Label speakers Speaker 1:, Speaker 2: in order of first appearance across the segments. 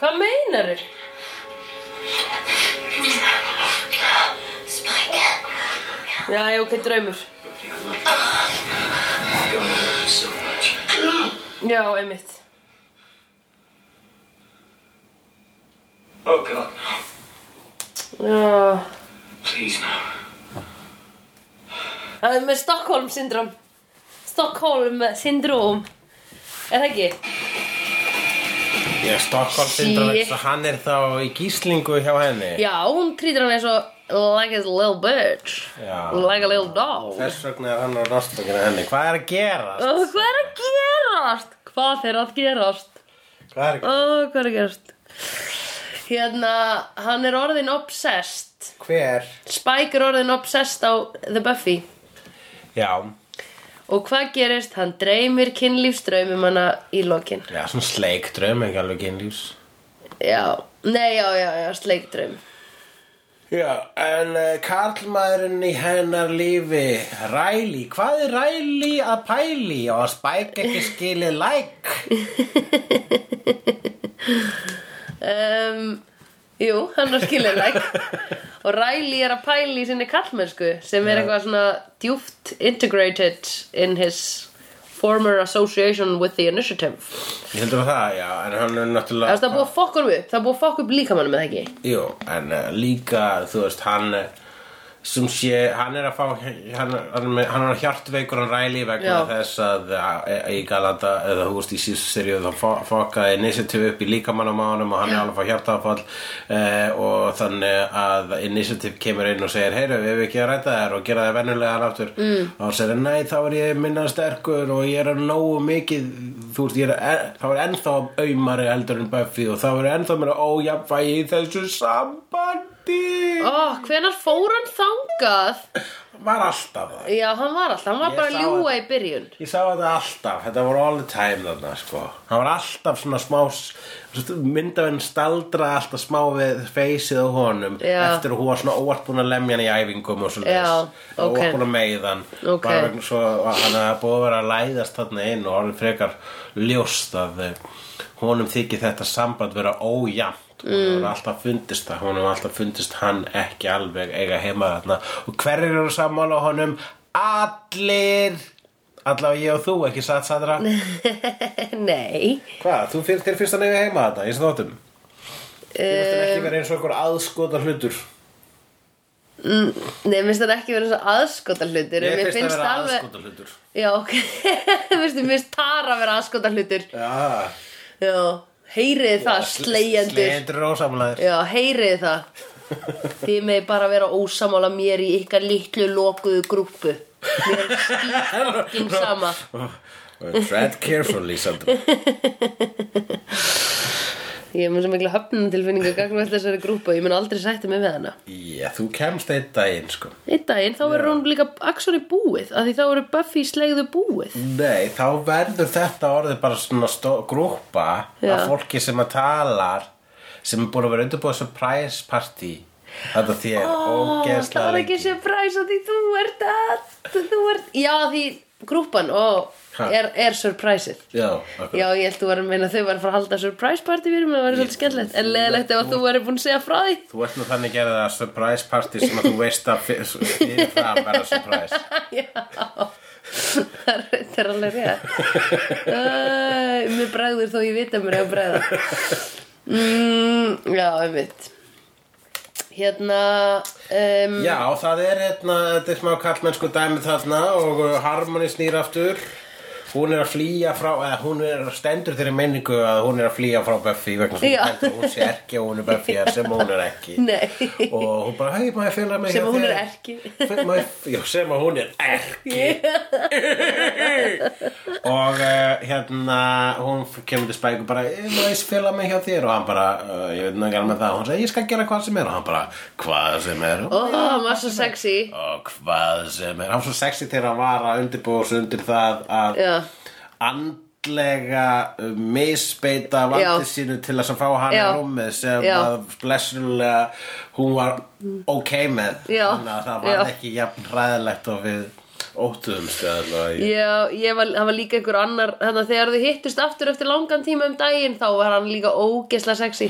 Speaker 1: Hvað meinar þau? Já, já, ok, draumur. Já, einmitt.
Speaker 2: Oh God, no.
Speaker 1: Já.
Speaker 2: Please, no.
Speaker 1: Það er með Stockholm syndrom. Stockholm syndrom. Er það ekki?
Speaker 3: Já, Stockholm syndrom,
Speaker 1: Shit.
Speaker 3: eins og hann er þá í gíslingu hjá henni.
Speaker 1: Já, hún trýtir hann eins og like a little bitch.
Speaker 3: Já.
Speaker 1: Like a little dog.
Speaker 3: Þess vegna er hann á náttúrulega henni. Hvað er að gerast?
Speaker 1: Ó, hvað er að gerast? Hvað er að gerast?
Speaker 3: Hvað er að
Speaker 1: Ó, hvað er að gerast? Hérna, hann er orðin obsessed.
Speaker 3: Hver?
Speaker 1: Spike er orðin obsessed á The Buffy.
Speaker 3: Já,
Speaker 1: Og hvað gerist? Hann dreymir kynlífsdraumum hana í lokin.
Speaker 3: já, svona sleikdraum, ekki alveg kynlífs.
Speaker 1: Já, nei, já, já, já, sleikdraum.
Speaker 3: Já, en uh, karlmaðurinn í hennar lífi, Ræli, hvað er Ræli að pæli og að Spike ekki skili læk?
Speaker 1: Um, jú, hann er skilileg. og Riley er að pæli í sinni kallmennsku sem er eitthvað svona djúft integrated in his former association with the initiative.
Speaker 3: Ég heldur að það, já, en hann er náttúrulega...
Speaker 1: Það er það búið að fokk honum upp, það er búið að fokk upp líkamannum með það ekki.
Speaker 3: Jú, en uh, líka, þú veist, hann eh, sem sé, hann er að fá hann, hann, er með- hann er hjartveikur hann ræli vegna
Speaker 1: Já.
Speaker 3: þess að eh, í Galata, eða þú veist, í síðustu seríu þá fo- fokkaði Initiative upp í líkamannum á honum og hann er alveg að fá hjartafall eh, og þannig að Initiative kemur inn og segir, heyru, við hefum ekki að ræta þér og gera það vennulega hann aftur mm. og hann segir, nei, þá er ég minna sterkur og ég er að nógu mikið þú veist, ég er, en- þá er ennþá aumari heldur en Buffy og þá er ennþá mér ójafnvægi í þessu sambandi
Speaker 1: Ó, hvenær fór hann þangað?
Speaker 3: var alltaf það
Speaker 1: Já, hann var alltaf, hann var
Speaker 3: Ég
Speaker 1: bara
Speaker 3: sá
Speaker 1: að ljúga
Speaker 3: þetta.
Speaker 1: í byrjun.
Speaker 3: Ég sá þetta alltaf, þetta voru all the time þarna sko Hann var alltaf svona smá myndavinn staldra alltaf smá við feysið á honum
Speaker 1: Já.
Speaker 3: eftir að hún var svona óvart búin að lemja hann í æfingum og svona
Speaker 1: Já, ok.
Speaker 3: óvart búin að meiða hann
Speaker 1: Ok.
Speaker 3: bara vegna svo að hann hafði búið að vera að læðast þarna inn og orðið frekar ljóst að eh, honum þykir þetta samband vera ójæmt mm. honum hefur alltaf fundist það, honum hefur alltaf fundist hann ekki alveg eiga heima þarna og hverjir eru sammála honum? Allir! Allavega ég og þú, ekki satt Sandra?
Speaker 1: Nei,
Speaker 3: Hvað, þú fyrir þér fyrst að nefja heima þarna, eins og þáttum? Þú veist ekki verið eins og einhver aðskota hlutur
Speaker 1: nei, minnst það ekki verið svo aðskota hlutir.
Speaker 3: Ég finnst að vera aðskota hlutur
Speaker 1: Já, ok, minnst þið minnst tar að vera aðskota hlutir.
Speaker 3: Já,
Speaker 1: Já, heyrið það, slegjendur.
Speaker 3: Slegjendur og ósamlæðir
Speaker 1: Já, heyrið það. Þið með bara vera ósamála mér í ykkar litlu lokuðu grúppu. Mér er skýtkin sama.
Speaker 3: Tread carefully, Sandra
Speaker 1: Ég er með svo mikla höfnuntilfinningu gagnvægt þessari grúppu. Ég mun aldrei sætti mig við hana.
Speaker 3: Já, þú kemst einn daginn, sko
Speaker 1: Einn daginn þá verður hún líka aksjóri búið. Af því þá verður Buffy slegðu búið.
Speaker 3: Nei, þá verður þetta orðið bara svona stó- grúppa af
Speaker 1: Já.
Speaker 3: fólki sem að talar sem er búin að vera undirbúið surprise party Þetta þér
Speaker 1: Ó, Það
Speaker 3: ógeðslega
Speaker 1: var ekki surprise af því þú ert að... Þú ert... Já, því grúppan, ó,
Speaker 3: Ha.
Speaker 1: er, er surpriseið.
Speaker 3: Já, akkurat.
Speaker 1: Já, ég held þú var að meina að þau var að fara að halda surprise party fyrir mig, það var svolítið skemmtilegt en leðilegt ef að þú væri búin að segja frá því
Speaker 3: Þú ert nú þannig gerðið að surprise party sem að þú veist að fyrir fyrir það að verða surprise
Speaker 1: Já, það er- þetta er alveg rétt Æ, Mér bregður þó ég vita mér að bregða mm, Já, einmitt Hérna um,
Speaker 3: Já, það er hérna, þetta er smá kallmennsku dæmi þarna og uh, Harmony snýr aftur Hún er að flýja frá, eða hún er að stendur þeirri menningu að hún er að flýja frá Buffy vegna sem
Speaker 1: Já.
Speaker 3: hún heldur að hún sé ekki og hún er Buffy er sem hún er ekki
Speaker 1: Nei,
Speaker 3: og hún bara, hei, maður fjöla mig
Speaker 1: Sem
Speaker 3: hjá
Speaker 1: að hún er
Speaker 3: þér."
Speaker 1: ekki.
Speaker 3: Fe- maður- Já, sem að hún er ekki og uh, hérna hún f- kemur til spæk og bara "Eh, maður fjöla mig hjá þér og hann bara, uh, ég veit nægara með það hún sagði, ég skal gera hvað sem er og hann bara, hvað sem er
Speaker 1: ó, hann var svo sexy
Speaker 3: og hvað sem er hann var svo sexy þegar hann var að undirbúa sig undir það að
Speaker 1: Já,
Speaker 3: andlega uh, misbeita
Speaker 1: Já.
Speaker 3: vandi sínu til þess að fá hann í
Speaker 1: Já.
Speaker 3: rúmið sem
Speaker 1: Já.
Speaker 3: að blessulega hún var ok með
Speaker 1: Já.
Speaker 3: þannig að það var
Speaker 1: Já.
Speaker 3: ekki jafn hræðilegt og við óttuðumst eða ég...
Speaker 1: Já, ég var, það var líka einhver annar þannig að þegar þau hittust aftur eftir langan tíma um daginn þá var hann líka ógesla sexy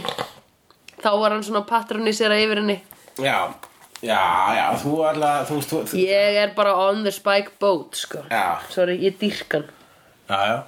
Speaker 1: þá var hann svona patronisera yfir henni
Speaker 3: já, já, já, þú alltaf þú veist, þú
Speaker 1: ég er bara on the spike boat sko.
Speaker 3: Já.
Speaker 1: sorry, ég dýrkan
Speaker 3: já, já,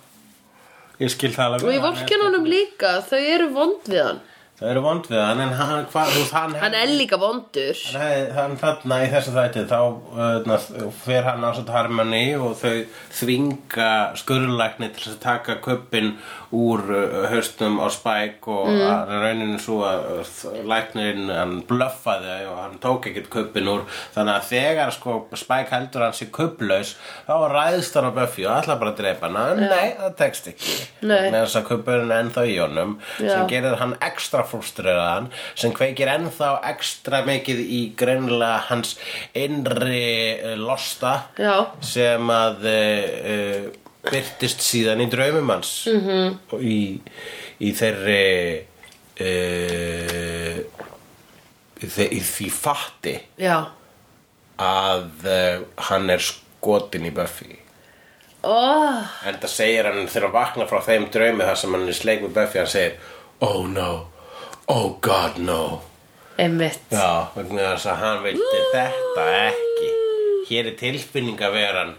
Speaker 3: ég skil það alveg
Speaker 1: og ég vorkin honum líka, þau eru vond við hann
Speaker 3: Það eru vond við hann, en hann, hvað, þú veist, hann
Speaker 1: hann er líka vondur
Speaker 3: Nei, hann þarna í þessu þætti þá öðna, fer hann ásett harmoni og þau þvinga skurðlækni til að taka köppin úr uh, haustum á spæk og mm. rauninu svo að uh, læknirinn hann blöffaði og hann tók ekkert köppin úr þannig að þegar sko spæk heldur hann sér köpplaus þá ræðst hann á Buffy og ætla bara að drepa hann en nei, það tekst ekki
Speaker 1: Nei.
Speaker 3: með þess að köppurinn er ennþá í honum
Speaker 1: Já.
Speaker 3: sem gerir gerir hann ekstra frustreraðan sem kveikir ennþá ekstra mikið í greinlega hans innri eh, losta
Speaker 1: Já.
Speaker 3: sem að uh, byrtist síðan í draumum hans -hmm. og í, í þeirri uh, þe í því fatti
Speaker 1: já,
Speaker 3: að uh, hann er skotin í Buffy
Speaker 1: oh,
Speaker 3: En það segir hann þegar hann vaknar frá þeim draumi þar sem hann er sleik með Buffy hann segir Oh no, oh god no
Speaker 1: einmitt
Speaker 3: Já, vegna þess að hann vildi
Speaker 1: Mm.
Speaker 3: þetta ekki Hér er tilfinningaveran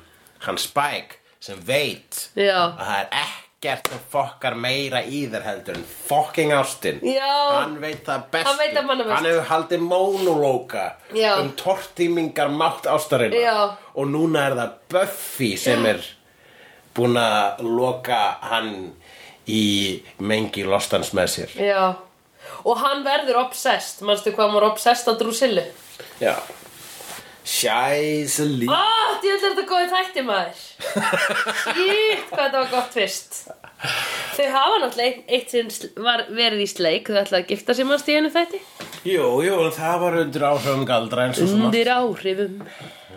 Speaker 3: hann Spike sem veit
Speaker 1: Já.
Speaker 3: að það er ekkert sem fokkar meira í þér heldur en fokking ástin
Speaker 1: Já.
Speaker 3: Hann veit það best
Speaker 1: Hann veit það manna best.
Speaker 3: Hann hefur haldið mónulóka
Speaker 1: Já.
Speaker 3: um tortímingar mátt ástarinnar
Speaker 1: Já.
Speaker 3: og núna er það Buffy sem er búin að loka hann í mengi lostans með sér
Speaker 1: já, og hann verður obsessed, manstu hvað hann var obsessed á Drusillu
Speaker 3: Já Sjæsa líka
Speaker 1: Ah, ég vil þetta góði þætti maður Sýtt hvað þetta var gott fyrst Þau hafa náttúrulega eitt- eitt sinn sl- var verið í sleik Þau ætlaði að gifta sér mannst í einu þætti
Speaker 3: Jú, jú, en það var undir áhrifum galdra eins og svona
Speaker 1: Undir áhrifum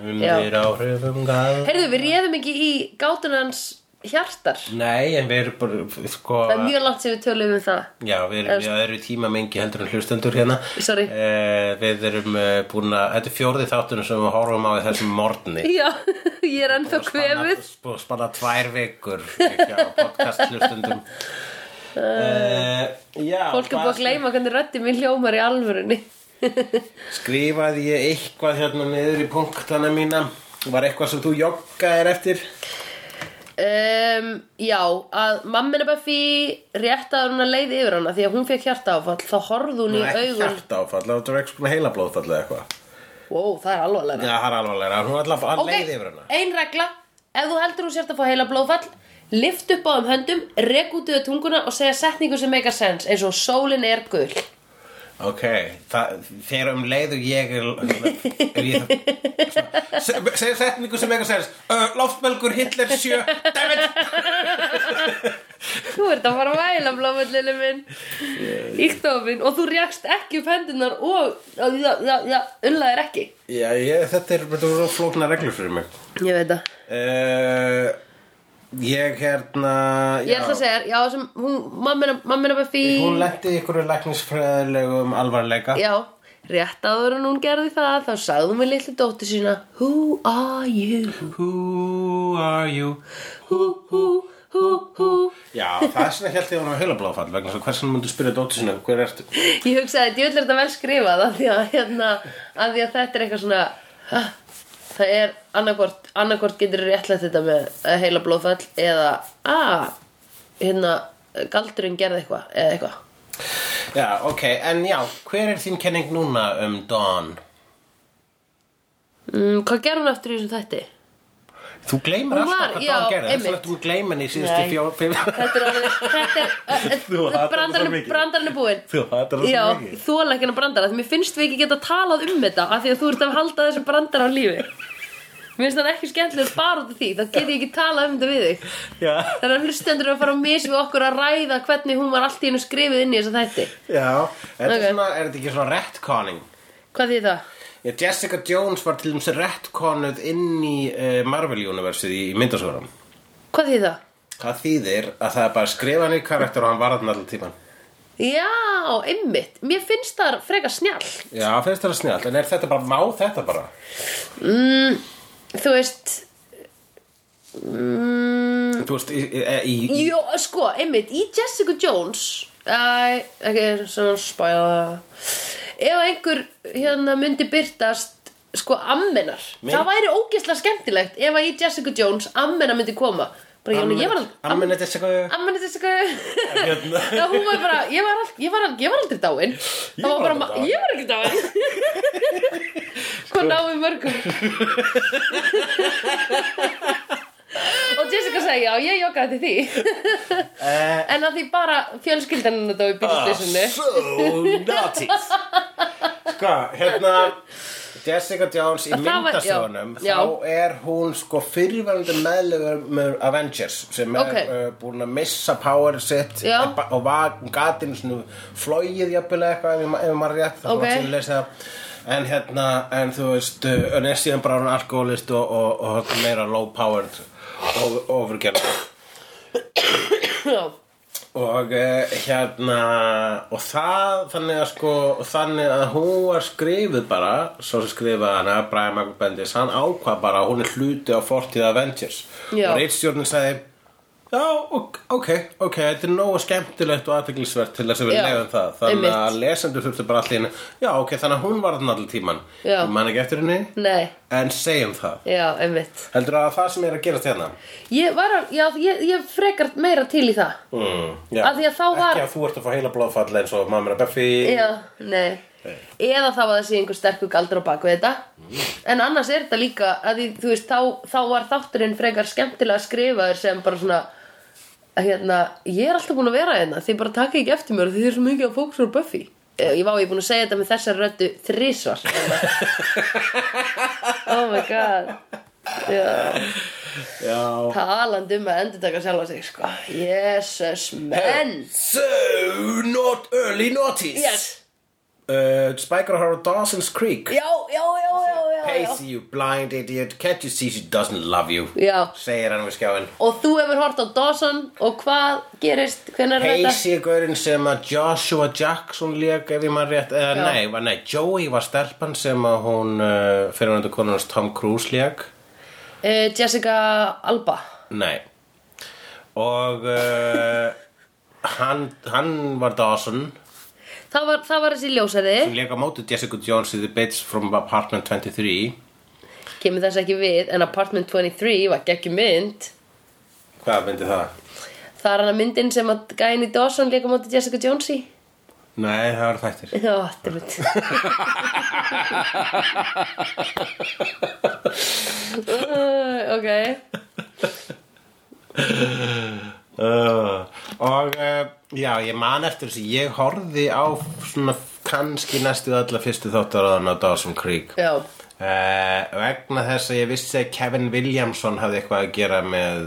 Speaker 3: Undir áhrifum galdra
Speaker 1: Heyrðu, við réðum ekki í gátunans hjartar
Speaker 3: Nei, en við erum bara, sko
Speaker 1: Það er mjög langt sem við tölum um það
Speaker 3: Já, við erum í öðru tíma mengi heldur en hlustendur hérna
Speaker 1: Sorry.
Speaker 3: eh, Við erum eh, búin að, þetta er fjórði þáttunum sem við horfum á í þessum morgni
Speaker 1: Já, ég er ennþá kvefuð
Speaker 3: Spanna, spanna tvær vikur ekki á podcast hlustendum eh, Já
Speaker 1: Fólk er
Speaker 3: hvað
Speaker 1: búið að gleyma hvernig röddi mér hljómar í alvörunni
Speaker 3: Skrifaði ég eitthvað hérna niður í punktana mína Var eitthvað sem þú joggaðir eftir?
Speaker 1: um, Já, að mammina Buffy réttaður hún að leið yfir hana Því að hún fekk hjarta þá horfði hún í
Speaker 3: Nei, ekki
Speaker 1: augun
Speaker 3: hjartáfall, það var ekki svona heilablóðfall eða eitthvað.
Speaker 1: Wow, það er alvarlega
Speaker 3: Já, það er alvarlega, hún var alltaf að
Speaker 1: Ok,
Speaker 3: leið yfir hana.
Speaker 1: ein regla Ef þú heldur hún sért að fá heila blóðfall Lift upp á um höndum, rek út yfir tunguna og segja setningu sem make a sense eins og sólin er gul
Speaker 3: Ok, það, þegar um leið og ég er, er ég það, segja setningu sem eitthvað segist, uh, loftbelgur Hitler 7, dammit!
Speaker 1: Þú ert að fara að væla blóðfallinu minn Íktofin og þú rekst ekki upp hendunar og já, já, já, unnlaðir ekki
Speaker 3: Já, ég, þetta er, þetta voru flókna reglur fyrir mig.
Speaker 1: Ég veit það
Speaker 3: Uh, ég hérna,
Speaker 1: Ég ætla að segja, þér, já, sem hún, mammina, mammina Buffy
Speaker 3: hún lendi ykkur læknisfræðilegum alvarleika.
Speaker 1: Já, rétt áður en hún gerði það þá sagði hún við litlu dóttu sína Who are you?
Speaker 3: Who are you?
Speaker 1: Who, who, who, who
Speaker 3: Já, það er svona held ég að hún var heilablóðfall vegna þess að hversan myndu spyrja dóttu sinna hver ertu?
Speaker 1: Ég hugsaði, djöðlega þetta vel skrifað af því að, hérna, af því að þetta er eitthvað svona ha, það er annarkvort, annarkvort getur réttlega þetta með eh, heila blóðfall eða að hérna, galdurinn gerði eitthvað eða eitthvað
Speaker 3: Já, ok, en já, hver er þín kenning núna um Dawn?
Speaker 1: mm, Hvað gerði hún aftur í þessum þætti?
Speaker 3: Þú gleymir
Speaker 1: Hún
Speaker 3: alltaf
Speaker 1: var-
Speaker 3: hvað
Speaker 1: já,
Speaker 3: Dawn gerði,
Speaker 1: einmitt.
Speaker 3: þú lættum gleymir í
Speaker 1: Nei.
Speaker 3: síðustu fjó... fjó-
Speaker 1: Þetta er alveg, þetta er, eh, eh,
Speaker 3: Þú hatar þetta svo
Speaker 1: brandarinn
Speaker 3: mikið.
Speaker 1: brandarinn er búinn
Speaker 3: Þú hatar það
Speaker 1: Já,
Speaker 3: svo mikið.
Speaker 1: þóla ekki hennar brandara Því mér finnst við ekki geta talað um þetta Af því að þú ert að halda þessu brandara á lífi Mér finnst það ekki skemmtilegur bara út af því þá get ég ekki talað um þetta við þig
Speaker 3: Já,
Speaker 1: Þannig að hlustendur eru að fara að misi við okkur að ræða hvernig hún var allt í hennu skrifið inn í þess að þætti.
Speaker 3: já, þetta
Speaker 1: Ok.
Speaker 3: er svona, er þetta ekki svona retconning?
Speaker 1: Hvað þýð það?
Speaker 3: Já, Jessica Jones var til dæmis retconuð inn í uh, Marvel Universe í, í myndasvörum.
Speaker 1: Hvað þýð það?
Speaker 3: Það þýðir að það er bara skrifanir karakter og hann varðan allan tíman.
Speaker 1: Já, einmitt. Mér finnst það frekar snjall.
Speaker 3: Já, finnst þetta snjált, en er þetta bara, má þetta bara?
Speaker 1: Mm, þú veist, Mm.
Speaker 3: Þú veist, í, í, í,
Speaker 1: Jó, sko, einmitt, í Jessica Jones Æ, ekki, sem spæða Ef einhver hérna myndi byrtast sko ammenar
Speaker 3: Mér-
Speaker 1: Það væri ógeðslega skemmtilegt ef að í Jessica Jones ammenar myndi koma Bara, hérna, ég var al- am-
Speaker 3: Ammenna Jessica
Speaker 1: Ammenar Jessica
Speaker 3: Hérna.
Speaker 1: Já, hún var bara, ég var, al, ég var, al, ég var aldrei dáin Það var
Speaker 3: var
Speaker 1: bara,
Speaker 3: aldrei
Speaker 1: ma-
Speaker 3: dáin.
Speaker 1: ég var ekki dáin Hvað náum mörgum Og Jessica sagði, já, ég joggaði til því
Speaker 3: Eh, Ah,
Speaker 1: En að því bara fjölskyldan hennar dó í bílstísinu
Speaker 3: So naughty Sko, hérna Jessica Jones í
Speaker 1: Það var-
Speaker 3: myndastöðunum
Speaker 1: já, já.
Speaker 3: þá er hún sko fyrirverandi meðlegur með Avengers sem er
Speaker 1: Ok.
Speaker 3: okay. uh, búin að missa power sitt
Speaker 1: Já.
Speaker 3: eh, ba- og var gatinn svona flóið jafnilega eitthvað ef, ma- ef maður er rétt þá
Speaker 1: Ok.
Speaker 3: var til að lesa það En hérna, en þú veist, uh, en er síðan bara hún alkoholist og, og, og, og meira low-powered og overgerð
Speaker 1: Já,
Speaker 3: og eh, hérna og það þannig að sko og þannig að hún var skrifuð bara svo sem skrifaði hana Brian Michael Bendis hann ákvað bara að hún er hluti á fortíð Avengers
Speaker 1: Já.
Speaker 3: og reitstjórnin sagði já ok, ok, ok, þetta er nógu skemmtilegt og aðteglisvert til þess að við
Speaker 1: Já,
Speaker 3: leiðum það þannig
Speaker 1: einmitt.
Speaker 3: að lesendur þurftu bara allir já ok, þannig að hún var þannig allir tíman
Speaker 1: Já.
Speaker 3: ég man ekki eftir henni
Speaker 1: nei,
Speaker 3: en segjum það
Speaker 1: já, einmitt
Speaker 3: heldur að það sem er að gerast hérna
Speaker 1: Ég var að, já, ég, ég frekar meira til í það
Speaker 3: mm, já.
Speaker 1: Af því að þá var-
Speaker 3: ekki að þú ert að fá heila blóðfall eins og mamma er að Buffy
Speaker 1: Já, nei Mm. Eða þá að það sé einhver sterkur galdur á baku þetta En annars er þetta líka að því, þú veist, þá, þá var þátturinn frekar skemmtilega skrifaður sem bara svona að hérna, ég er alltaf búin að vera hérna þið bara taka ekki eftir mér og þið er svo mikið að fókusur á Buffy Eh, Ég vá, ég er búin að segja þetta með þessar röddu þrísvar Oh my god Já
Speaker 3: já.
Speaker 1: Talandi um að endurtaka sjálfa sig, sko. Jesus, menn.
Speaker 3: So not early notice
Speaker 1: Yes.
Speaker 3: uh, Spike og Harold Dawson's Creek
Speaker 1: Já, já, já, já, já, já.
Speaker 3: Pacey you blind idiot Can't you see she doesn't love you
Speaker 1: Já.
Speaker 3: Segir hann við skjáin
Speaker 1: Og þú hefur hort á Dawson og hvað gerist, hvenær er þetta?
Speaker 3: Pacey er gaurinn sem að Joshua Jackson lék ef ég maður rétt eða
Speaker 1: Já.
Speaker 3: nei, var, nei, Joey var stelpan sem að hún uh, fyrir hann konunars Tom Cruise lék
Speaker 1: Uh, Jessica Alba.
Speaker 3: Nei Og uh, hann, hann var Dawson
Speaker 1: Það var, það var þessi ljósari.
Speaker 3: sem lék á móti Jessica Jones í The Bitch from Apartment 23
Speaker 1: Kemur þess ekki við, en Apartment 23 var geggjum mynd.
Speaker 3: Hvað myndi það?
Speaker 1: Það er hana myndin sem að gæin í Dawson líka móti Jessica Jones í.
Speaker 3: Nei, það var þættir
Speaker 1: Já, drömmt. Eh, ok.
Speaker 3: uh, Og uh, já, ég man eftir þessu Ég horfði á svona kannski næstu alla fyrstu þáttaröðan á Dawson Creek uh,
Speaker 1: Já,
Speaker 3: Eh, Vegna þess að ég vissi að Kevin Williamson hafði eitthvað að gera með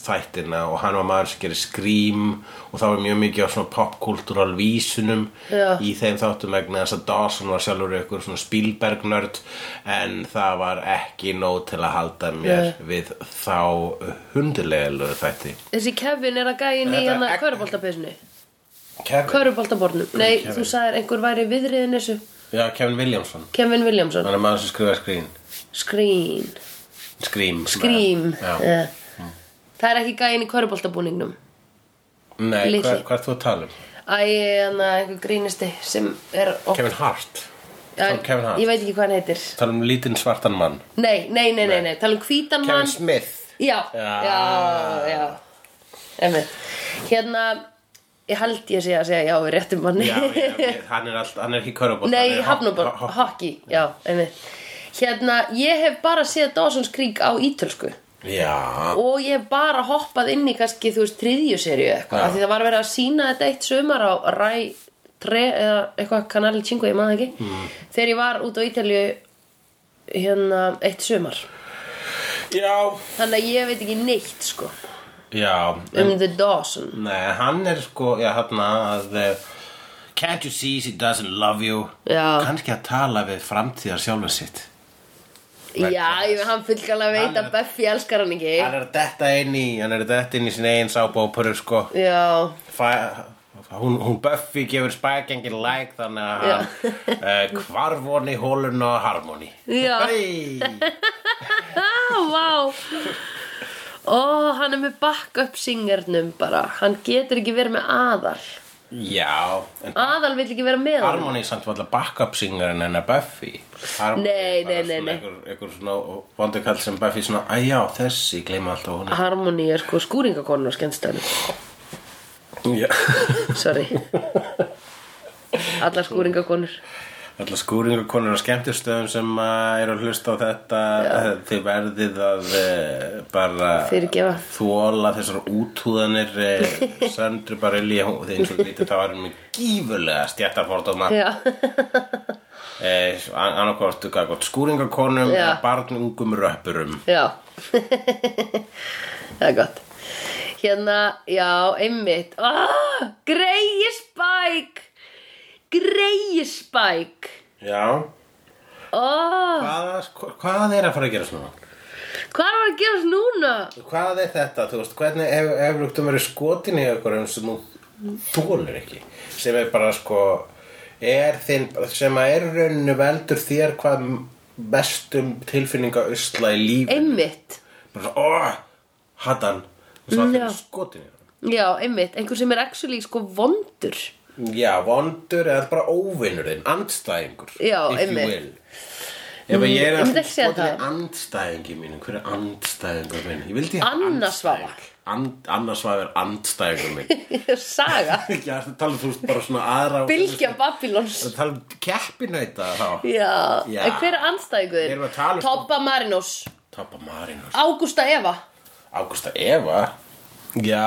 Speaker 3: þættina og hann var maður sem gerir skrím og það var mjög mikið á svona popkultúral vísunum
Speaker 1: Já.
Speaker 3: í þeim þáttum vegna þess að Dawson var sjálfur ykkur svona Spielberg-nörd en það var ekki nóg til að halda mér
Speaker 1: Nei.
Speaker 3: við þá hundulegu þætti
Speaker 1: þessi Kevin er að gæin í
Speaker 3: Þetta
Speaker 1: hérna
Speaker 3: egg-
Speaker 1: kvöruboltapesinu.
Speaker 3: Kevin,
Speaker 1: Köruboltabornum Nei,
Speaker 3: Kevin.
Speaker 1: þú sagðir einhver væri viðriðin þessu
Speaker 3: Já, Kevin Williamson
Speaker 1: Kevin Williamson
Speaker 3: hann er maður sem skrifa skrím
Speaker 1: Screen
Speaker 3: skrím
Speaker 1: Grím
Speaker 3: Já.
Speaker 1: Það er ekki gæin í köruboltabúningnum
Speaker 3: Nei,
Speaker 1: Litli.
Speaker 3: hvað, hvað ert þú að tala um?
Speaker 1: Æ, en að einhver grínisti sem er ó,
Speaker 3: Kevin Hart
Speaker 1: Æ,
Speaker 3: Tom Kevin Hart.
Speaker 1: Ég veit ekki hvað hann heitir
Speaker 3: tala um lítinn svartan mann
Speaker 1: Nei, nei, nei, nei, nei, tala um hvítan
Speaker 3: Kevin
Speaker 1: mann
Speaker 3: Smith
Speaker 1: Já,
Speaker 3: Já.
Speaker 1: já, já Einmitt Hérna, ég held ég sé að segja já við réttum manni
Speaker 3: Já, já, ok, hann er, all, hann er ekki körubótt
Speaker 1: Nei, í Hafnabor, hockey, já, einmitt Hérna, ég hef bara séð Dawson's Creek á ítölsku
Speaker 3: Já,
Speaker 1: og ég hef bara hoppað inn í kannski þú veist þriðju serju eitthvað
Speaker 3: Já.
Speaker 1: af því það var verið að sína þetta eitt sumar á Ræ 3 eða eitthvað kanali 5 ég maður ekki
Speaker 3: Mm.
Speaker 1: þegar ég var út á Ítalju hérna eitt sumar
Speaker 3: já,
Speaker 1: þannig að ég veit ekki neitt sko
Speaker 3: já
Speaker 1: um The Dawson
Speaker 3: Nei, hann er sko, já, hann að eh, Can't you see she doesn't love you
Speaker 1: Já.
Speaker 3: Kannski að tala við framtíðar sjálfur sitt
Speaker 1: já, ég veit hann fullkala veit
Speaker 3: Hann
Speaker 1: að Buffy elskar hann ekki
Speaker 3: Hann er að detta inn í, hann er að detta inn í sinni eigin sábópur sko
Speaker 1: já,
Speaker 3: Fæ, hún, hún Buffy gefur Spike engin like þannig að
Speaker 1: Já.
Speaker 3: hann eh, hvarvoni hólun og harmoni
Speaker 1: Já.
Speaker 3: Hey.
Speaker 1: ah, vá ó, hann er með backup singernum bara hann getur ekki verið með aðal
Speaker 3: Já, en
Speaker 1: aðal vil ekki vera með honum.
Speaker 3: Harmony er samt var backup singarinn hennar Buffy Harmony
Speaker 1: Nei,
Speaker 3: er
Speaker 1: nei, nei,
Speaker 3: bara svona
Speaker 1: nei.
Speaker 3: Einhver, einhver svona vondukall sem Buffy svona Æ já, þessi, gleyma alltaf hún
Speaker 1: Harmony er sko skúringakonun á skemmstæðinu
Speaker 3: Já,
Speaker 1: sorry allar skúringakonur
Speaker 3: Alla skúringakonur og skemmtistöðum sem uh, eru að hlusta á þetta eh, Þið verðið að uh, bara
Speaker 1: Fyrirgefa.
Speaker 3: Þóla þessar útúðanir uh, Söndru bara ilja Það eins og lítið það var með gífurlega stjættarfordóma
Speaker 1: já,
Speaker 3: eh, annarkort gagvart skúringakonum
Speaker 1: Já.
Speaker 3: eða barnungum röppurum
Speaker 1: já það er gott hérna, já, einmitt ah, greiði spæk greiði spæk
Speaker 3: Já,
Speaker 1: oh,
Speaker 3: hvað, hvað er að fara að gerast núna?
Speaker 1: hvað var að gerast núna
Speaker 3: Hvað er þetta, þú veist, hvernig ef, ef rúktum verið skotin í okkur eins og nú þólur ekki sem er bara sko er þinn, sem að er í rauninu veldur þér hvað mestum tilfinninga usla í lífi
Speaker 1: einmitt
Speaker 3: bara svo, óh, hattan og svo
Speaker 1: Já.
Speaker 3: allir skotin í okkur
Speaker 1: Já, einmitt, einhver sem er actually sko vondur
Speaker 3: Já, vondur eða bara óvinnur þinn, andstæðingur
Speaker 1: Já,
Speaker 3: if you
Speaker 1: einmitt. Mm,
Speaker 3: will. Ef að ég er
Speaker 1: ég myndi
Speaker 3: að
Speaker 1: ekki segja
Speaker 3: skotin
Speaker 1: það.
Speaker 3: í andstæðingi mínum, hver er andstæðingur minn? Ég vildi
Speaker 1: Anna Svavar.
Speaker 3: And, Annarsvafa er andstæðingur minn
Speaker 1: Saga,
Speaker 3: Já, það tala þú veist bara svona aðra
Speaker 1: bylgja Babylons
Speaker 3: Það tala um keppinauta þá
Speaker 1: Já,
Speaker 3: Já.
Speaker 1: en hver er
Speaker 3: Við erum
Speaker 1: anstæðingur?
Speaker 3: að tala um-
Speaker 1: Tobba Marinus,
Speaker 3: Toppa Marinus
Speaker 1: Ágústa Eva
Speaker 3: Ágústa Eva Já,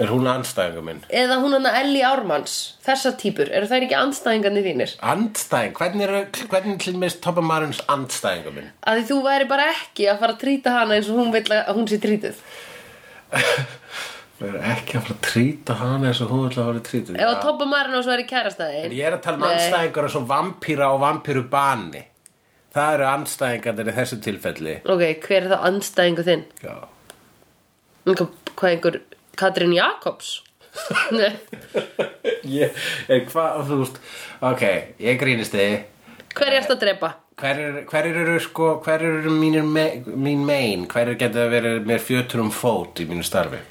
Speaker 3: er hún andstæðingur minn?
Speaker 1: Eða hún hann Ellie Ármanns Þessar típur, eru þær ekki anstæðingarnir þínir?
Speaker 3: Andstæðing, hvernig er, hvernig er til mér Toppa Marinus andstæðingur minn?
Speaker 1: Að því þú væri bara ekki að fara að trýta hana eins og hún vill að hún sé trýtuð
Speaker 3: Við erum ekki að fara að trýta hana eins og hún vil að fara að trýta
Speaker 1: Ef að Tobba Marinus væri kærastæðin
Speaker 3: En ég er að tala um
Speaker 1: Nei.
Speaker 3: anstæðingar eins og vampýra og vampýru bani Það eru anstæðingarnir í þessu tilfelli
Speaker 1: Ok, hver er þá anstæðingur þinn?
Speaker 3: Já
Speaker 1: Einhver- Hvað einhver, Katrin Jakobs? Nei,
Speaker 3: Ég, er hvað, þú veist Ok, ég grínist þig
Speaker 1: hver er þetta að drepa?
Speaker 3: Hverjir hver eru sko, hverjir eru mínir me, mín mein, hverjir geta verið mér fjötur um fót í mínu starfi?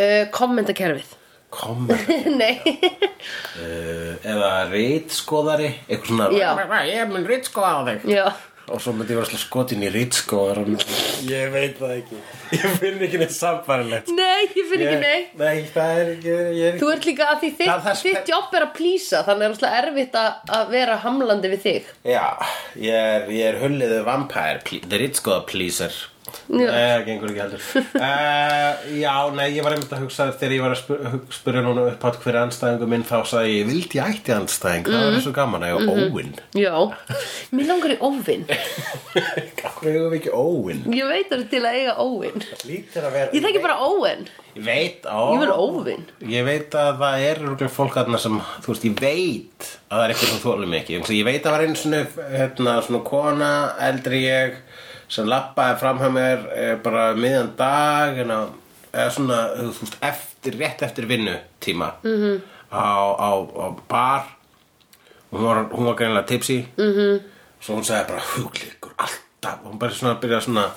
Speaker 1: Uh, kommentakerfið
Speaker 3: Komur,
Speaker 1: Nei,
Speaker 3: uh, eða rýtskoðari, eitthvað svona,
Speaker 1: Já.
Speaker 3: ég mun rýtskoða á þig.
Speaker 1: já
Speaker 3: Og svo myndi ég vera skotin í rýtskoðar. Ég veit það ekki, ég finn ekki neitt samfærilegt.
Speaker 1: Nei, ég finn ekki nei
Speaker 3: Nei, það er ekki, ég er ekki.
Speaker 1: Þú ert líka að því þitt,
Speaker 3: Það- það er-
Speaker 1: þitt jobb er að plýsa Þannig er rosalega erfitt að, að vera hamlandi við þig
Speaker 3: Já, ég er, ég er hulliðu vampire, ple- the Ritzgoða pleaser Nei, það gengur ekki heldur uh, Já, nei, ég var einmitt að hugsa þegar ég var að spur, hug- spurja núna upp átt hverja anstæðingu minn þá sagði ég, vildi ég ætti anstæðing það
Speaker 1: Mhm.
Speaker 3: var svo gaman að ég var óvinn
Speaker 1: Já, mér langar í óvinn
Speaker 3: Akkur hefur við ekki óvinn
Speaker 1: Ég veit það til að eiga óvinn
Speaker 3: Lítur að vera
Speaker 1: Ég þekki bara óvinn
Speaker 3: Ég veit, ó
Speaker 1: Ég vil óvinn
Speaker 3: Ég veit að það er rúglega fólk aðna sem, þú veist, ég veit að það er eitthvað sem þólum ekki. Ég ég veit að það var einu svona, hérna, svona kona, eldri ég, sem lappaði fram hjá mér eh, bara miðan dag, hérna, eða svona, þú veist, eftir, rétt eftir vinnutíma -hmm. á, á, á bar. Hún var, hún var greinlega tipsy. Mm -hmm.
Speaker 1: Mhm.
Speaker 3: Svo hún sagði bara, huglikur, alltaf, hún bara svona byrjaði svona,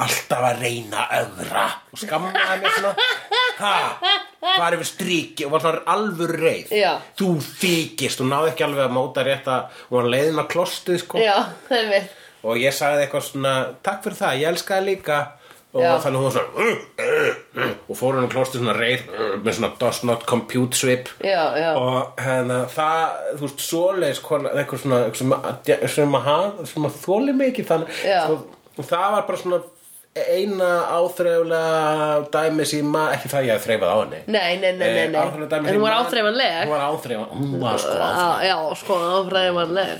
Speaker 3: alltaf að reyna öðra og skammaði mér svona, ha, var yfir stríki og var svona alvöru reið.
Speaker 1: Já.
Speaker 3: Þú þykist, hún náði ekki alveg að móta rétt að hún var leiðin að klostið, sko.
Speaker 1: Já, það er mitt
Speaker 3: Og ég sagði eitthvað svona, takk fyrir það, ég elska það líka. Og
Speaker 1: Já.
Speaker 3: þannig hún var svona, uh, uh, uh, og fór hún að klostið svona reið, uh, með svona does not compute svip
Speaker 1: Já, já
Speaker 3: og hérna það, þú veist, svoleiðis konar, eitthvað svona, eitthvað sem, að- sem að hafa, sem að þóli mikið þannig
Speaker 1: Já.
Speaker 3: svo, það var bara svona eina áþreiflega dæmi síma, ekki það ég hafði þreifað á henni
Speaker 1: Nei, nei, nei, nei,
Speaker 3: Eh,
Speaker 1: nei.
Speaker 3: áþreifanlega dæmi
Speaker 1: En hún var
Speaker 3: sem-
Speaker 1: áþreifanleg.
Speaker 3: hún var áþreifan, hún var sko
Speaker 1: Á, Já, sko, áfræðimanleg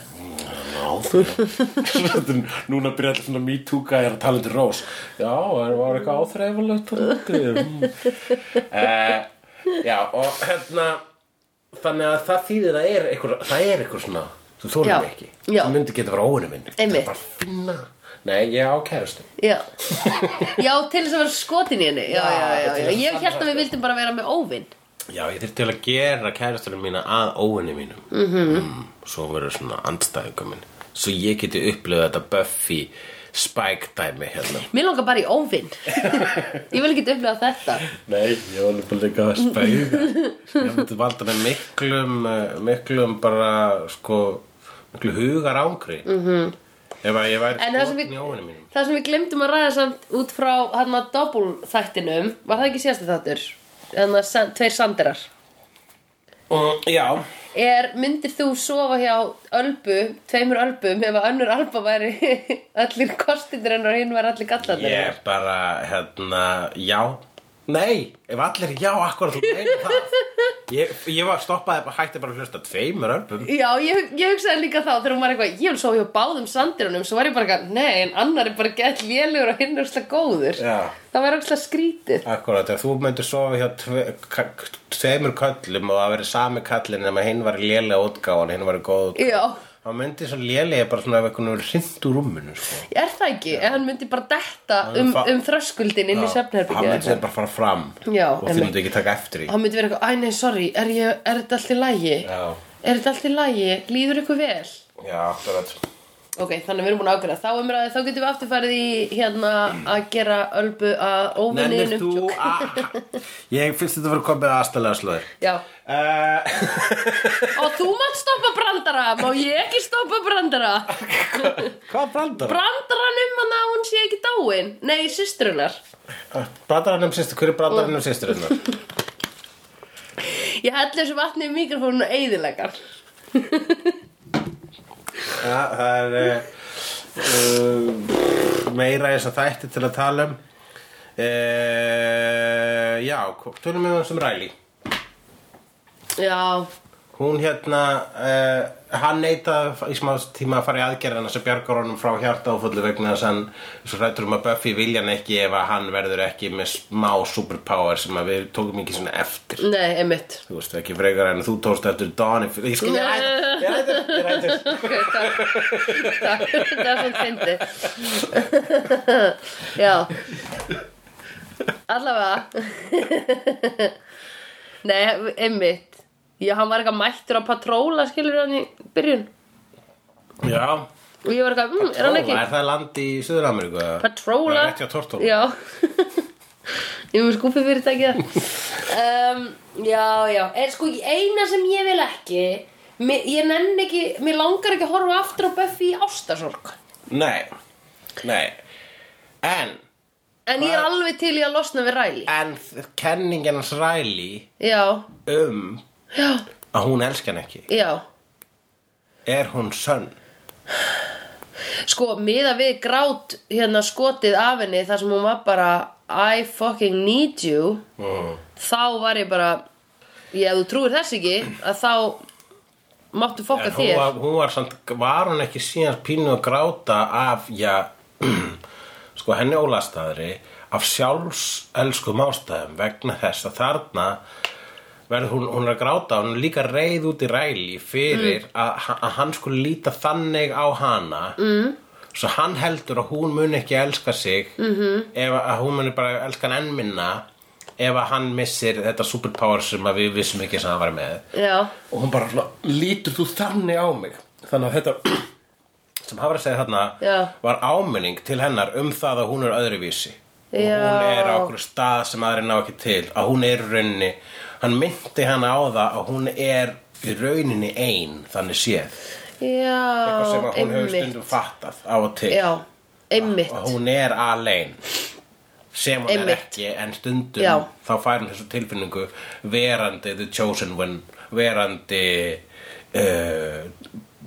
Speaker 3: áþreifan núna byrja allir svona mítúka er að tala til rós já, það var eitthvað áþreifanlegt uh, já, og hérna þannig að það þýðir að er einhver, það er einhver svona þú
Speaker 1: Já,
Speaker 3: þólar ekki,
Speaker 1: já.
Speaker 3: þú myndi geta að vera óinu minn Það
Speaker 1: Einmitt.
Speaker 3: er bara að finna nei, ég á kærustu
Speaker 1: Já Já, til þess að vera skotin í henni Já, já, já,
Speaker 3: til
Speaker 1: já.
Speaker 3: þess að
Speaker 1: Ég held að við vildum bara vera með óvinn
Speaker 3: já, ég þyrfti til að gera kærustunum mína að óinu mínum
Speaker 1: Mhm.
Speaker 3: mm -hmm. mm, svo verður svona andstæðingum minn svo ég geti upplifað þetta Buffy Spike dæmi hérna
Speaker 1: Mér langar bara í óvinn Ég vil ekki upplifa þetta
Speaker 3: Nei, ég var bara líka að spauga Ég myndi valda með miklum eh, miklum bara sko, miklu hugar ángri mm -hmm. Ef að ég væri
Speaker 1: Mhm. En það sem
Speaker 3: skotin
Speaker 1: við-
Speaker 3: í óinu mínum
Speaker 1: Það sem við glemdum að ræða samt út frá hann að þættinum Var það ekki síðasti þáttur? Þannig að tveir sandirar
Speaker 3: Og já,
Speaker 1: Er, myndir þú sofa hjá ölbu, tveimur ölbum ef að önnur alba væri allir kostindir hennar og hinn væri allir gallandir
Speaker 3: ég bara hérna, já Nei, ef allir já, akkurat þú meina það Ég, ég var stoppaði, bara- hætti bara að hlusta tveimur örpum
Speaker 1: Já, ég, ég hugsaði líka þá þegar hún var eitthvað, ég vil sofa hjá báðum sandirunum svo var ég bara eitthvað, nei, en annar er bara gett lélugur og hinn er slag góður
Speaker 3: Já.
Speaker 1: Það væri óslega skrítið
Speaker 3: Akkurat, ef þú myndir sofa hjá tve, ka- tveimur köllum og það verið sami kallin nema hinn var lélega útgáfan, hinn var góð útgáfan.
Speaker 1: Já,
Speaker 3: Þá myndi svo lélega bara svona ef einhvern veginn hrind úr rúminu, sko.
Speaker 1: er það ekki, en hann myndi bara detta
Speaker 3: Hann
Speaker 1: um,
Speaker 3: fa-
Speaker 1: um þröskuldin inn í
Speaker 3: Hann myndi
Speaker 1: svefnherbyggja
Speaker 3: sem bara fara fram
Speaker 1: Já,
Speaker 3: og þið
Speaker 1: einmitt.
Speaker 3: myndi ekki taka eftir því.
Speaker 1: Hann myndi vera eitthvað, æ nei, sorry, er, ég, er þetta allt í lægi?
Speaker 3: Já,
Speaker 1: Er þetta allt í lægi? Líður ykkur vel?
Speaker 3: já, akkurat.
Speaker 1: Ok, þannig við erum búin að ákveða þá umræði, þá getum við afturfærið í hérna að gera ölbu að
Speaker 3: Nennir
Speaker 1: óvinninum
Speaker 3: þú að... Ég finnst þetta verið komið að aðstæðlega slóðir.
Speaker 1: Já,
Speaker 3: Uh,
Speaker 1: og þú mátt stoppa brandara, má ég ekki stoppa brandara
Speaker 3: hvað brandar?
Speaker 1: Brandaranum hann að hún sé ekki dáin, nei, systrunar
Speaker 3: Brandaranum sýstur, um hver er brandaranum sýstur hérna?
Speaker 1: Ég helli þessu vatni í mikrofónu og eyðilegar
Speaker 3: Já, það er uh, meira þess að þætti til að tala um uh, Já, tölum við um sem Ræli
Speaker 1: Já,
Speaker 3: Hún hérna, uh, hann neitaði í smá tíma að fara í aðgerðina sem bjargar honum frá hjarta vegna þess að hann svo rættur um að Buffy vilja hann ekki ef að hann verður ekki með smá superpower sem að við tókum ekki svona eftir
Speaker 1: nei, einmitt
Speaker 3: Þú veist ekki frekar en þú tókst eftir Dawn Ég skil, ég rætur, ég rætur, ég rætur
Speaker 1: Ok, takk, takk, það er svona fyndi Já Allavega Nei, einmitt Já, hann var eitthvað mættur á patróla skilur hann í byrjun
Speaker 3: Já,
Speaker 1: og ég var eitthvað, mm, er hann ekki
Speaker 3: Tóla, er það land í Suður-Ameríku?
Speaker 1: Patróla
Speaker 3: Það er rétt hjá Tortóla
Speaker 1: Já Ég var skúpið fyrirtækið um, Já, já Er sko eina sem ég vil ekki mér, Ég nenni ekki, mér langar ekki að horfa aftur á Buffy í ástasorg
Speaker 3: Nei, nei En,
Speaker 1: En ég er alveg til í að losna við Riley
Speaker 3: en þ- kenningin hans Riley
Speaker 1: Já,
Speaker 3: um
Speaker 1: já,
Speaker 3: að hún elski hann ekki
Speaker 1: já
Speaker 3: Er hún sönn?
Speaker 1: Sko, miða við grát hérna skotið af henni þar sem hún var bara I fucking need you
Speaker 3: Mm.
Speaker 1: Þá var ég bara Já, þú trúir þess ekki að þá máttu fokka
Speaker 3: En hún
Speaker 1: þér
Speaker 3: var, hún var samt, var hún ekki síðan pínu að gráta af, já, sko henni ólastaðri af sjálfselskum ástæðum vegna þess að þarna verður hún, hún er að gráta, hún er líka reið út í ræli fyrir að, að hann skulle líta þannig á hana mm. svo hann heldur að hún mun ekki elska sig -hmm. ef að- að hún muni bara elska hann enn minna ef að hann missir þetta superpower sem að við vissum ekki sem hann var með
Speaker 1: Já,
Speaker 3: og hún bara svona, lítur þú þannig á mig þannig að þetta sem hafa að segja þarna
Speaker 1: Já.
Speaker 3: var áminning til hennar um það að hún er öðruvísi
Speaker 1: Já.
Speaker 3: og hún er á okkur stað sem aðri ná ekki til að hún er í rauninni hann myndi hana á það að hún er í rauninni ein þannig séð
Speaker 1: já,
Speaker 3: eitthvað sem að hún hefur
Speaker 1: einmitt
Speaker 3: stundum fattað á og til
Speaker 1: Já, einmitt
Speaker 3: að hún er alein sem hún er
Speaker 1: Einmitt.
Speaker 3: ekki en stundum
Speaker 1: Já.
Speaker 3: þá fær hún þessu tilfinningu verandi the chosen one verandi uh,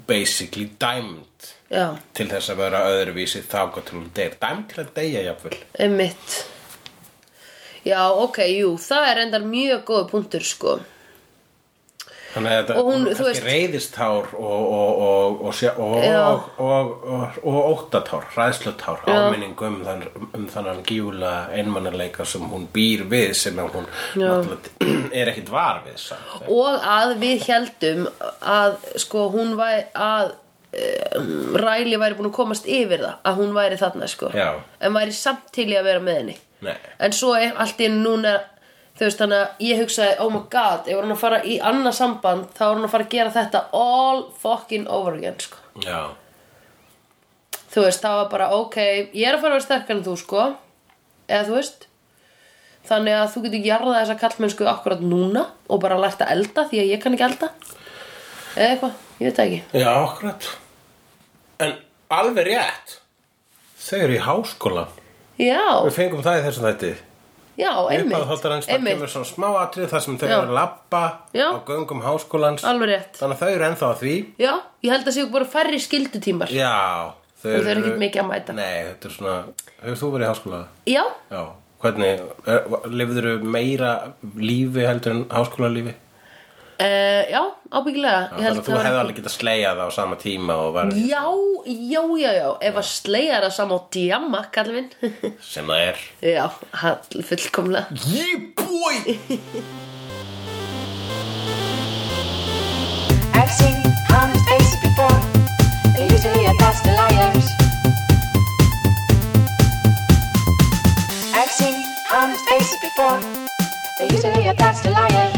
Speaker 3: basically dæmd
Speaker 1: Já,
Speaker 3: til þess að vera öðruvísi þá gott til hún deyr dæmd til að deyja jafnvel
Speaker 1: einmitt Já, ok, jú, það er endar mjög góð punktur, sko
Speaker 3: Þannig að þetta
Speaker 1: Og hún,
Speaker 3: hún,
Speaker 1: þú
Speaker 3: kannski
Speaker 1: veist-
Speaker 3: reyðistár og, og, og, og, sjá- og,
Speaker 1: Já.
Speaker 3: og, og, og, og óttatár, ræðslutár, áminning um, þann, um þannan gífula einmannalega sem hún býr við sem að hún náttúrulega er ekkit var við samt.
Speaker 1: Og að við heldum að, sko, hún væri að um, Ræli væri búin að komast yfir það að hún væri þarna, sko
Speaker 3: Já.
Speaker 1: En væri samt til í að vera með henni
Speaker 3: Nei.
Speaker 1: En svo er allt í einu núna Þú veist þannig að ég hugsaði Oh my god, ef hún að fara í annað samband Þá er hún að fara að gera þetta all fucking over again, sko
Speaker 3: Já.
Speaker 1: þú veist, það var bara ok ég er að fara að vera sterkar en þú sko eða þú veist þannig að þú getur jarðað þessa kallmennsku akkurat núna og bara lært að elda því að ég kann ekki elda eða eitthvað, ég veit það ekki
Speaker 3: Já, akkurat En alveg rétt Þau eru í háskóla
Speaker 1: já,
Speaker 3: Við fengum það í þessum þætti
Speaker 1: já, einmitt,
Speaker 3: Uppáðhaldar hans, það
Speaker 1: einmitt
Speaker 3: kemur svona smá atrið þar sem þau
Speaker 1: Já.
Speaker 3: eru að labba
Speaker 1: Já.
Speaker 3: á göngum háskólans
Speaker 1: alveg rétt
Speaker 3: Þannig að þau eru ennþá að því
Speaker 1: já, ég held að séu bara færri skildutímar já,
Speaker 3: Já, þau
Speaker 1: Og þau eru ekkert mikið að mæta.
Speaker 3: Nei, þetta er svona, hefur þú verið í háskóla?
Speaker 1: já,
Speaker 3: Já, hvernig, er, lifður meira lífi heldur en háskóla lífi?
Speaker 1: uh, já ábyggilega ég held
Speaker 3: Þannig að þú
Speaker 1: það
Speaker 3: hefði
Speaker 1: var-
Speaker 3: alveg getað slegjað á sama tíma og var
Speaker 1: já, já, já, já ef að sleiða það saman á djamma kallvin
Speaker 3: sem það er
Speaker 1: já, hall- fullkomlega
Speaker 3: Yeah boy!
Speaker 2: I've seen honest faces before. They're usually a past liars. I've seen honest faces before. They're usually a past liars.